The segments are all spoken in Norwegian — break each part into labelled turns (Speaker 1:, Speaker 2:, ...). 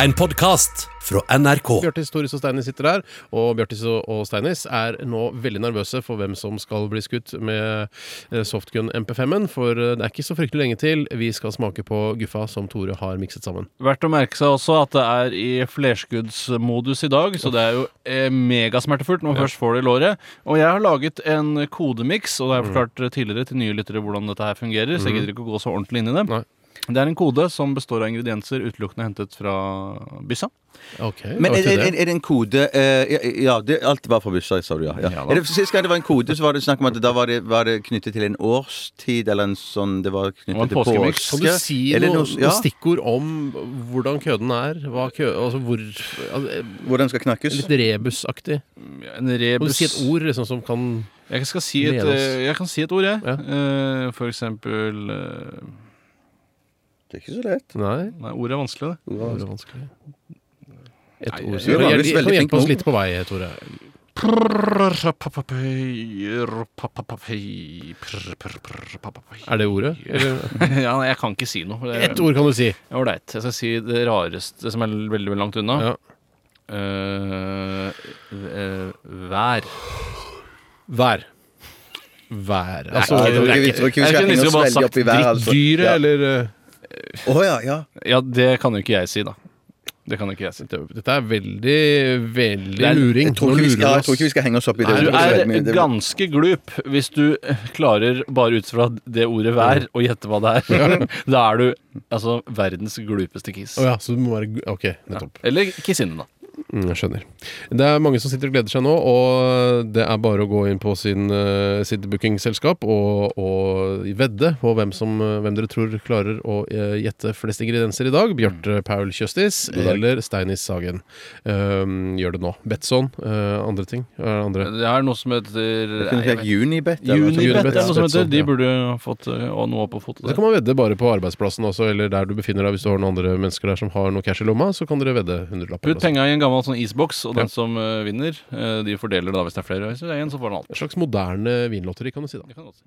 Speaker 1: En podkast fra NRK.
Speaker 2: Bjartis, Toris og Steinis sitter der, og Bjartis og, og Steinis er nå veldig nervøse for hvem som skal bli skutt med eh, softgun MP5-en, for eh, det er ikke så fryktelig lenge til vi skal smake på guffa som Tore har mikset sammen.
Speaker 3: Verdt å merke seg også at det er i flerskuddsmodus i dag, så det er jo eh, megasmertefullt når man først får det i låret. Og jeg har laget en kodemiks, og det har jeg forklart eh, tidligere til nye lyttere hvordan dette her fungerer, så jeg gidder ikke å gå så ordentlig inn i det.
Speaker 2: Mhm. Nei.
Speaker 3: Det er en kode som består av ingredienser utelukkende hentet fra byssa.
Speaker 2: Ok,
Speaker 4: Men
Speaker 2: da
Speaker 4: er,
Speaker 2: vet vi
Speaker 4: er,
Speaker 2: det.
Speaker 4: er det en kode eh, Ja, ja det, alt var fra Bussa, sa du, ja. ja.
Speaker 3: Ja da.
Speaker 4: er det, sist gang det var en kode, så var det snakk om at da var det, var det knyttet til en årstid, eller en sånn Det
Speaker 3: Og
Speaker 4: var
Speaker 3: en
Speaker 4: knyttet til påske.
Speaker 3: påskemiks.
Speaker 2: kan du si
Speaker 4: Eller
Speaker 2: noe,
Speaker 4: noe-
Speaker 2: noe
Speaker 4: ja,
Speaker 2: stikkord om hvordan køden er? Hva kø, altså hvor altså,
Speaker 4: Hvordan skal knakkes?
Speaker 2: Litt rebusaktig.
Speaker 3: En
Speaker 2: Kan
Speaker 3: rebus
Speaker 2: du si et ord liksom, som kan
Speaker 3: Jeg, skal si et,
Speaker 2: Leder oss.
Speaker 3: eh, jeg kan si et ord, jeg.
Speaker 2: Ja.
Speaker 3: Eh, For eksempel eh,
Speaker 4: Det er ikke så lett.
Speaker 2: Nei,
Speaker 3: Nei, ord er vanskelig, det.
Speaker 2: det var vanskelig. Et
Speaker 3: Nei,
Speaker 2: ord
Speaker 3: jeg
Speaker 2: som
Speaker 4: er
Speaker 2: kan
Speaker 4: vanligvis
Speaker 2: hjel-
Speaker 4: veldig
Speaker 2: kan
Speaker 4: flink
Speaker 2: hjelpe oss
Speaker 4: med
Speaker 2: litt på vei, Tore.
Speaker 3: Er
Speaker 2: Er det ordet? Eller?
Speaker 3: Ja, nei, jeg kan ikke si noe. Det
Speaker 2: Ett ord kan du si.
Speaker 3: er ålreit. Jeg skal si det rareste som er veldig, veldig langt unna.
Speaker 2: Ja.
Speaker 3: Eh, eh, vær.
Speaker 2: Vær. Vær. Altså,
Speaker 4: Nei,
Speaker 2: det er
Speaker 4: vi
Speaker 2: ikke-
Speaker 4: tror
Speaker 3: Jeg
Speaker 4: ikke vi skal
Speaker 3: kunne
Speaker 4: henge
Speaker 3: liksom
Speaker 4: oss
Speaker 3: bare
Speaker 4: veldig
Speaker 3: sagt
Speaker 4: opp i været, altså.
Speaker 2: Dyret
Speaker 4: Ja.
Speaker 2: eller eh,
Speaker 4: Å ja, ja.
Speaker 3: Ja, det kan jo ikke jeg si, da. Det kan jo ikke jeg si.
Speaker 2: det- Dette er veldig,
Speaker 3: Det
Speaker 2: veldig
Speaker 3: er-
Speaker 2: luring.
Speaker 4: Jeg tror,
Speaker 2: Nå
Speaker 4: ikke vi
Speaker 2: lurer
Speaker 4: skal, ja,
Speaker 2: du
Speaker 4: jeg tror ikke vi skal henge oss opp i det.
Speaker 3: Du
Speaker 4: Det er så veldig
Speaker 3: er
Speaker 4: mye- det-
Speaker 3: ganske glup hvis du eh, klarer, bare ut fra det ordet 'vær', å gjette hva det er. Da er du altså verdens glupeste kiss.
Speaker 2: Å ja, så du må være gu- Ok, nettopp.
Speaker 3: Eller kissinne, da.
Speaker 2: Mm, jeg skjønner. Det er mange som sitter og gleder seg nå, og det er bare å gå inn på sin, eh, sitt bookingselskap og, og vedde på hvem, som, eh, hvem dere tror klarer å eh, gjette flest ingredienser i dag.
Speaker 4: Mm.
Speaker 2: Bjarte Paul Kjøstis eller Steinis Sagen. Um, gjør det nå. Betson. eh, andre ting. Eh, andre.
Speaker 3: Det er noe som heter
Speaker 4: det kunne hett Unibet. eller noe sånt.
Speaker 3: Unibet, eller noe som heter.
Speaker 2: Sånn,
Speaker 3: De
Speaker 2: ja.
Speaker 3: burde jo fått eh, og noe på fotet.
Speaker 2: Så
Speaker 3: der.
Speaker 2: kan man vedde bare på arbeidsplassen også, eller der du befinner deg. Hvis du har noen andre mennesker der som har noe cash i lomma, så kan dere vedde hundrelapper.
Speaker 3: Putt
Speaker 2: eller noe sånt.
Speaker 3: penga i en gammel sånn isboks, og
Speaker 2: Ja.
Speaker 3: den som eh, vinner, eh, de fordeler det da hvis det er flere. Hvis det er en, så får den alt.
Speaker 2: Et slags moderne vinlotteri, kan du si. da
Speaker 3: Det kan godt si.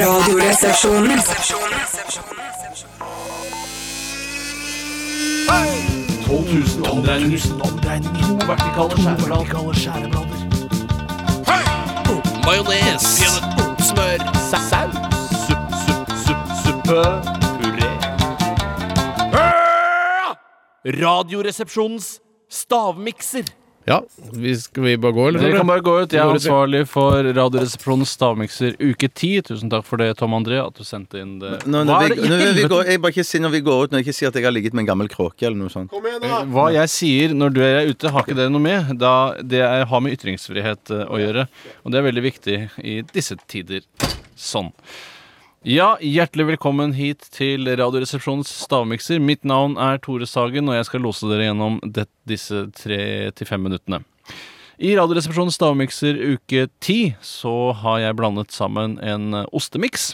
Speaker 5: Radioresepsjonen.
Speaker 2: Ja, vi skal vi bare gå, eller?
Speaker 3: Dere kan bare gå ut. Jeg er
Speaker 2: Går ut, vi.
Speaker 3: ansvarlig for Radioresepsjonens stavmikser uke 10. Tusen takk for det, Tom André, at du sendte inn det.
Speaker 4: Nå,
Speaker 3: Hva
Speaker 4: når
Speaker 3: er
Speaker 4: vi,
Speaker 3: det i
Speaker 4: når vi
Speaker 3: helvete?
Speaker 4: går, jeg bare ikke si når vi går ut, når jeg ikke sier at jeg har ligget med en gammel kråke eller noe sånt.
Speaker 3: Hva jeg sier når du er ute, har ikke dere noe med. Da det er, har med ytringsfrihet eh, å gjøre. Og det er veldig viktig i disse tider. Sånn. Ja, hjertelig velkommen hit til Radioresepsjonens stavmikser. Mitt navn er Tore Sagen, og jeg skal lose dere gjennom det, disse tre til fem minuttene. I Radioresepsjonens stavmikser uke ti så har jeg blandet sammen en eh, ostemiks.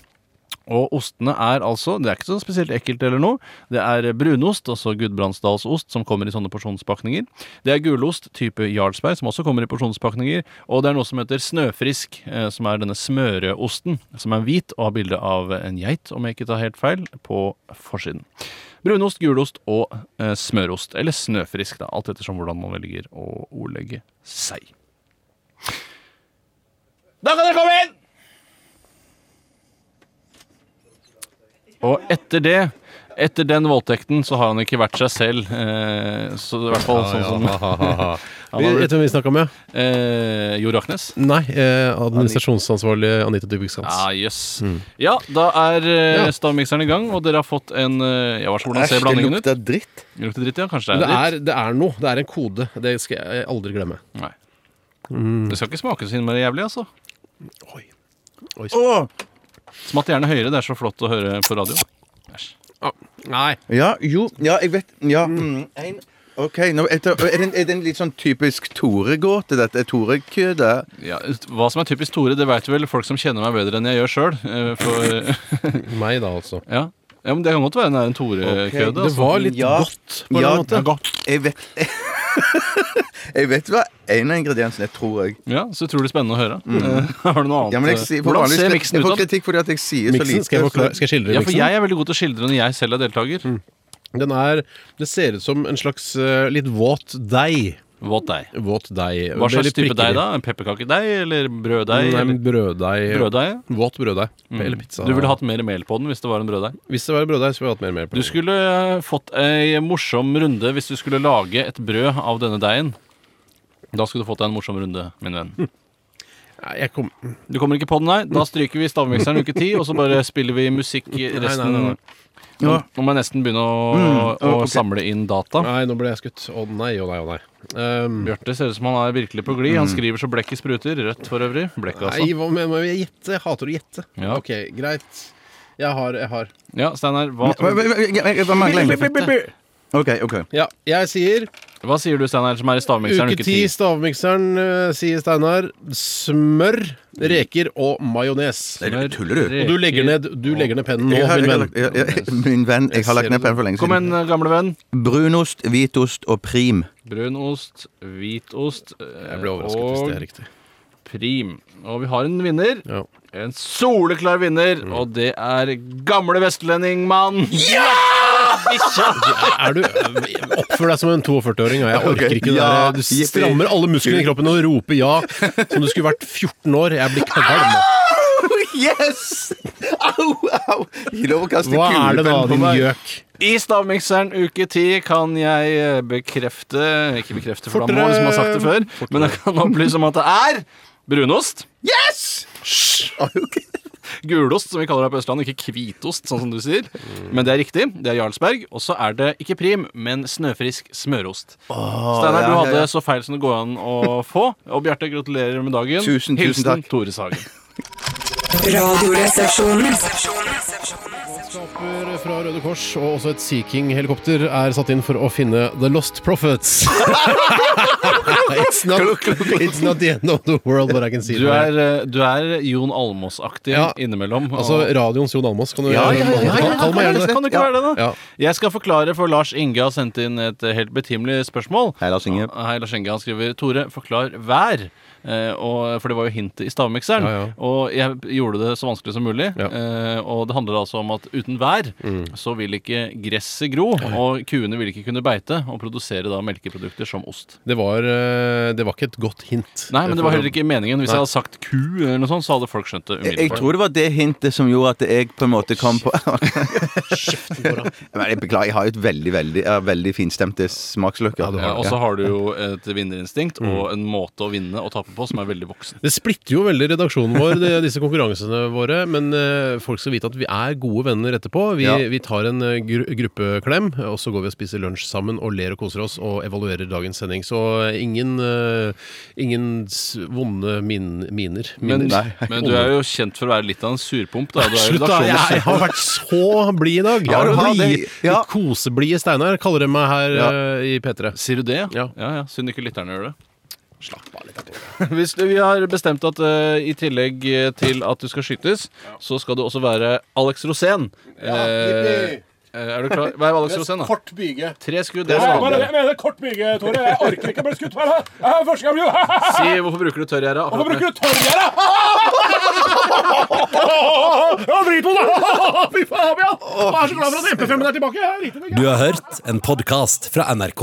Speaker 3: Og ostene er altså Det er ikke så spesielt ekkelt eller noe. Det er brunost, altså Gudbrandsdalsost, som kommer i sånne porsjonspakninger. Det er gulost type Jarlsberg, som også kommer i porsjonspakninger. Og det er noe som heter snøfrisk, eh, som er denne smøreosten, som er hvit og har bilde av en geit, om jeg ikke tar helt feil, på forsiden. Brunost, gulost og eh, smørost. Eller snøfrisk, da. Alt ettersom hvordan man velger å ordlegge seg. Da kan dere komme inn! Og etter det etter den voldtekten så har han ikke vært seg selv. Eh, så det er i hvert fall sånn som
Speaker 2: Vi, vet du hvem vi snakka med?
Speaker 3: eh, Jo Raknes.
Speaker 2: Nei, eh, administrasjonsansvarlig Anita Dybvik Skans.
Speaker 3: Ja, jøss. Ja, da er eh,
Speaker 2: Ja.
Speaker 3: stavmikseren i gang, og dere har fått en eh, Ja, hva så hvordan
Speaker 4: Æsj,
Speaker 3: ser blandingen ut?
Speaker 4: lukter dritt.
Speaker 3: Det lukter dritt, ja. Kanskje
Speaker 2: Men
Speaker 3: det
Speaker 2: det
Speaker 3: er
Speaker 2: er, det er noe. Det er en kode. Det skal jeg aldri glemme.
Speaker 3: dritt? Nei.
Speaker 2: Mm.
Speaker 3: Det skal ikke smake så innmari jævlig, altså.
Speaker 2: Oi.
Speaker 4: Åh!
Speaker 3: Smatt gjerne høyere, det er så flott å høre på radio.
Speaker 2: Nei.
Speaker 4: Ja, jo, ja, jeg vet Ja. Mm, en, OK, nå, etter, er, det en, er det en litt sånn typisk Tore-gåte, dette? Er Tore-køde?
Speaker 3: Ja, hva som er typisk Tore, det veit vel folk som kjenner meg bedre enn jeg gjør sjøl.
Speaker 2: Meg, da, altså.
Speaker 3: Ja. ja, men det kan godt være den er en
Speaker 4: Ok,
Speaker 3: Tore-køde. altså.
Speaker 2: Det var litt
Speaker 4: Ja.
Speaker 2: godt, på en
Speaker 4: Ja,
Speaker 2: måte.
Speaker 4: det Jeg vet Jeg vet hva en av ingrediensene er, tror jeg.
Speaker 3: Ja, så utrolig spennende å høre. Eh, har du noe annet?
Speaker 4: Mm. Ja, men jeg, sier- for
Speaker 3: Hvordan
Speaker 4: vanligvis-
Speaker 3: ser miksen
Speaker 4: jeg
Speaker 3: ut?
Speaker 4: får
Speaker 3: da?
Speaker 4: kritikk fordi at jeg sier så
Speaker 2: Miksen,
Speaker 4: lite.
Speaker 2: skal, jeg
Speaker 4: så-
Speaker 2: forklare, skal jeg skildre
Speaker 3: Ja, for
Speaker 2: miksen? Mm.
Speaker 3: jeg er veldig god til å skildre når jeg selv er deltaker.
Speaker 2: Den er Det ser ut som en slags eh, litt våt deig.
Speaker 3: Våt deig.
Speaker 2: Våt deig.
Speaker 3: Hva
Speaker 2: Eller
Speaker 3: slags type
Speaker 2: prikker. Mm,
Speaker 3: deig da? En pepperkakedeig eller brøddeig?
Speaker 2: Nei, men
Speaker 3: eller
Speaker 2: brøddeig.
Speaker 3: Brøddeig?
Speaker 2: Våt brøddeig. Eller pizza.
Speaker 3: Du ville hatt mer mel på den hvis det var en brøddeig?
Speaker 2: Hvis det var brøddeig, så ville jeg hatt mer mel på
Speaker 3: Du
Speaker 2: den.
Speaker 3: skulle eh, fått ei morsom runde hvis du skulle lage et brød av denne deigen. Da skulle du fått deg en morsom runde, min venn.
Speaker 2: Nei, jeg kom...
Speaker 3: Du kommer ikke på den, nei? Da stryker vi stavmikseren uke ti, og så bare spiller vi musikk i
Speaker 2: Nei, nei,
Speaker 3: resten.
Speaker 2: nei, nei.
Speaker 3: Nå, nå må jeg nesten begynne å,
Speaker 4: Mm,
Speaker 3: å
Speaker 4: ok.
Speaker 3: samle inn data.
Speaker 2: nei, nå ble jeg skutt. Å nei, å nei, å nei. Ehm,
Speaker 3: Bjarte ser ut som han er virkelig på glid. Han skriver så blekket spruter. Rødt for øvrig. Blekk,
Speaker 2: Mm. nei,
Speaker 3: altså.
Speaker 2: hva med må jeg gjette? Jeg hater å gjette.
Speaker 3: Ja.
Speaker 2: OK, greit. Jeg har, jeg har.
Speaker 3: Ja, Steinar, hva,
Speaker 4: Hva- hva- hva- hva- Hva mangler egentlig? OK. ok
Speaker 2: Ja, jeg sier
Speaker 3: hva sier du, Steinar, som er i stavmikseren
Speaker 2: uke
Speaker 3: uke
Speaker 2: ti,
Speaker 3: ti?
Speaker 2: stavmikseren, eh, sier Steinar. Smør, reker og majones.
Speaker 4: Nei, du tuller, du.
Speaker 2: Og du legger ned, du legger ned pennen nå,
Speaker 4: Jeg har-
Speaker 2: min
Speaker 4: jeg har
Speaker 2: venn.
Speaker 4: lagt- jeg- jeg- Min venn, jeg har lagt ned pennen for lenge
Speaker 3: Kom igjen,
Speaker 4: siden.
Speaker 3: gamle venn.
Speaker 4: Brunost, hvitost og prim.
Speaker 3: Brunost, hvitost
Speaker 2: Jeg ble overrasket hvis det er riktig.
Speaker 3: prim. Og vi har en vinner.
Speaker 2: Ja.
Speaker 3: En soleklar vinner,
Speaker 4: Mm.
Speaker 3: og det er gamle vestlendingmann. Ja!
Speaker 2: Er du, oppfør deg som en 42-åring. ja. Jeg orker
Speaker 4: Ok,
Speaker 2: ikke det
Speaker 4: ja,
Speaker 2: der. eh, Du
Speaker 4: jippi.
Speaker 2: strammer alle musklene i kroppen og roper ja som du skulle vært 14 år. Jeg blir kvalm.
Speaker 4: Ah, Yes! Au, au! Gi lov å kaste
Speaker 2: Hva er det da,
Speaker 4: kulepenn på
Speaker 2: din
Speaker 4: meg.
Speaker 2: gjøk?
Speaker 3: I Stavmikseren uke ti kan jeg eh, bekrefte Ikke bekrefte, for da
Speaker 2: Fortere!
Speaker 3: må alle som har sagt det før, men jeg kan opplyse om at det er brunost.
Speaker 4: Yes! Ok.
Speaker 3: Gulost, som vi kaller det her på Østlandet, ikke hvitost, sånn som du sier.
Speaker 4: Mm.
Speaker 3: Men det er riktig. Det er Jarlsberg. Og så er det ikke prim, men snøfrisk smørost. Steinar,
Speaker 4: ja,
Speaker 3: du
Speaker 4: ja,
Speaker 3: hadde
Speaker 4: ja.
Speaker 3: så feil som det går an å få. Og Bjarte, gratulerer med dagen.
Speaker 4: Tusen, tusen
Speaker 3: Hilsen
Speaker 4: takk.
Speaker 3: Tore Sagen.
Speaker 5: Radioresepsjonen.
Speaker 2: Helikopter fra Røde Kors og også et Sea King-helikopter er satt inn for å finne The Lost Prophets. it's, not, it's not the end of the world, but I can see
Speaker 3: Du
Speaker 2: it.
Speaker 3: er, eh, du er Jon Almås-aktig
Speaker 2: Ja.
Speaker 3: innimellom. og-
Speaker 2: Altså radioens Jon Almaas. Kan du
Speaker 4: Ja, ja, ja, ja, ja,
Speaker 2: Kall meg
Speaker 3: Kan
Speaker 2: gjerne
Speaker 3: du-
Speaker 2: det.
Speaker 3: Kan du ikke
Speaker 4: Ja.
Speaker 3: være det, da?
Speaker 2: Ja.
Speaker 3: Jeg skal forklare, for Lars Inge har sendt inn et eh, helt betimelig spørsmål.
Speaker 4: Hei, Lars Inge.
Speaker 3: Hei, Lars Inge. Han skriver Tore, forklar vær. Eh, og, for det var jo hintet i stavmikseren.
Speaker 2: Ja, ja.
Speaker 3: Og jeg gjorde det så vanskelig som mulig.
Speaker 2: Ja.
Speaker 3: Eh, og det handler altså om at uten vær så vil ikke gresset gro, og kuene vil ikke kunne beite og produsere da melkeprodukter som ost.
Speaker 2: Det var, eh, det var ikke et godt hint.
Speaker 3: Nei, men det var
Speaker 2: For-
Speaker 3: heller ikke meningen. Hvis
Speaker 2: Nei.
Speaker 3: jeg hadde sagt ku, eller noe sånt, så hadde folk skjønt det
Speaker 4: Jeg, jeg
Speaker 3: umiddelbart.
Speaker 4: tror det var det hintet som gjorde at jeg på en måte kom på Men Jeg beklager, jeg har jo et veldig, veldig, ja, veldig finstemte smaksløker.
Speaker 3: Ja, Eh, og så har du jo et vinnerinstinkt og en måte å vinne og tape på som er veldig voksen.
Speaker 2: Det splitter jo veldig redaksjonen vår, det, disse konkurransene våre. Men eh, folk skal vite at vi er gode venner etterpå. Vi,
Speaker 4: Ja.
Speaker 2: vi tar en eh, gru gruppeklem, og så går vi og spiser lunsj sammen og ler og koser oss og evaluerer dagens sending. Så eh, ingen, eh, ingen s- vonde min, miner.
Speaker 3: Men,
Speaker 2: miner.
Speaker 3: men du er jo kjent for å være litt av en surpomp. Da. Du er jo
Speaker 2: Slutt, da! Jeg,
Speaker 3: redaksjonens-
Speaker 2: jeg har vært så blid i dag.
Speaker 4: Ja, du har
Speaker 2: Blid-
Speaker 4: det. Ja.
Speaker 2: litt Koseblide Steinar kaller de meg her eh, i P3.
Speaker 3: Sier du det?
Speaker 2: Ja.
Speaker 3: ja, ja. Synd ikke lytterne gjør det. Slapp av litt. Hvis du, vi har bestemt at eh, i tillegg eh, til at du skal skytes, så skal du også være Alex Rosén. Eh, eh, er du klar? Hva er Alex Rosén, da?
Speaker 2: Kort byge.
Speaker 3: Tre skudd. Det er
Speaker 6: Jeg
Speaker 3: vanlig.
Speaker 6: mener, jeg mener kort mygge, Tore. Jeg orker ikke å bli skutt. Bare. Jeg er første gang jeg blir
Speaker 3: Si, hvorfor bruker du tørrgjerde?
Speaker 6: Hvorfor bruker du tørrgjerde? Ja, drit på deg! Fy faen, Fabian! Jeg er så glad for at MP5-en er tilbake. Jeg er riktig,
Speaker 1: Du har hørt en podcast fra NRK.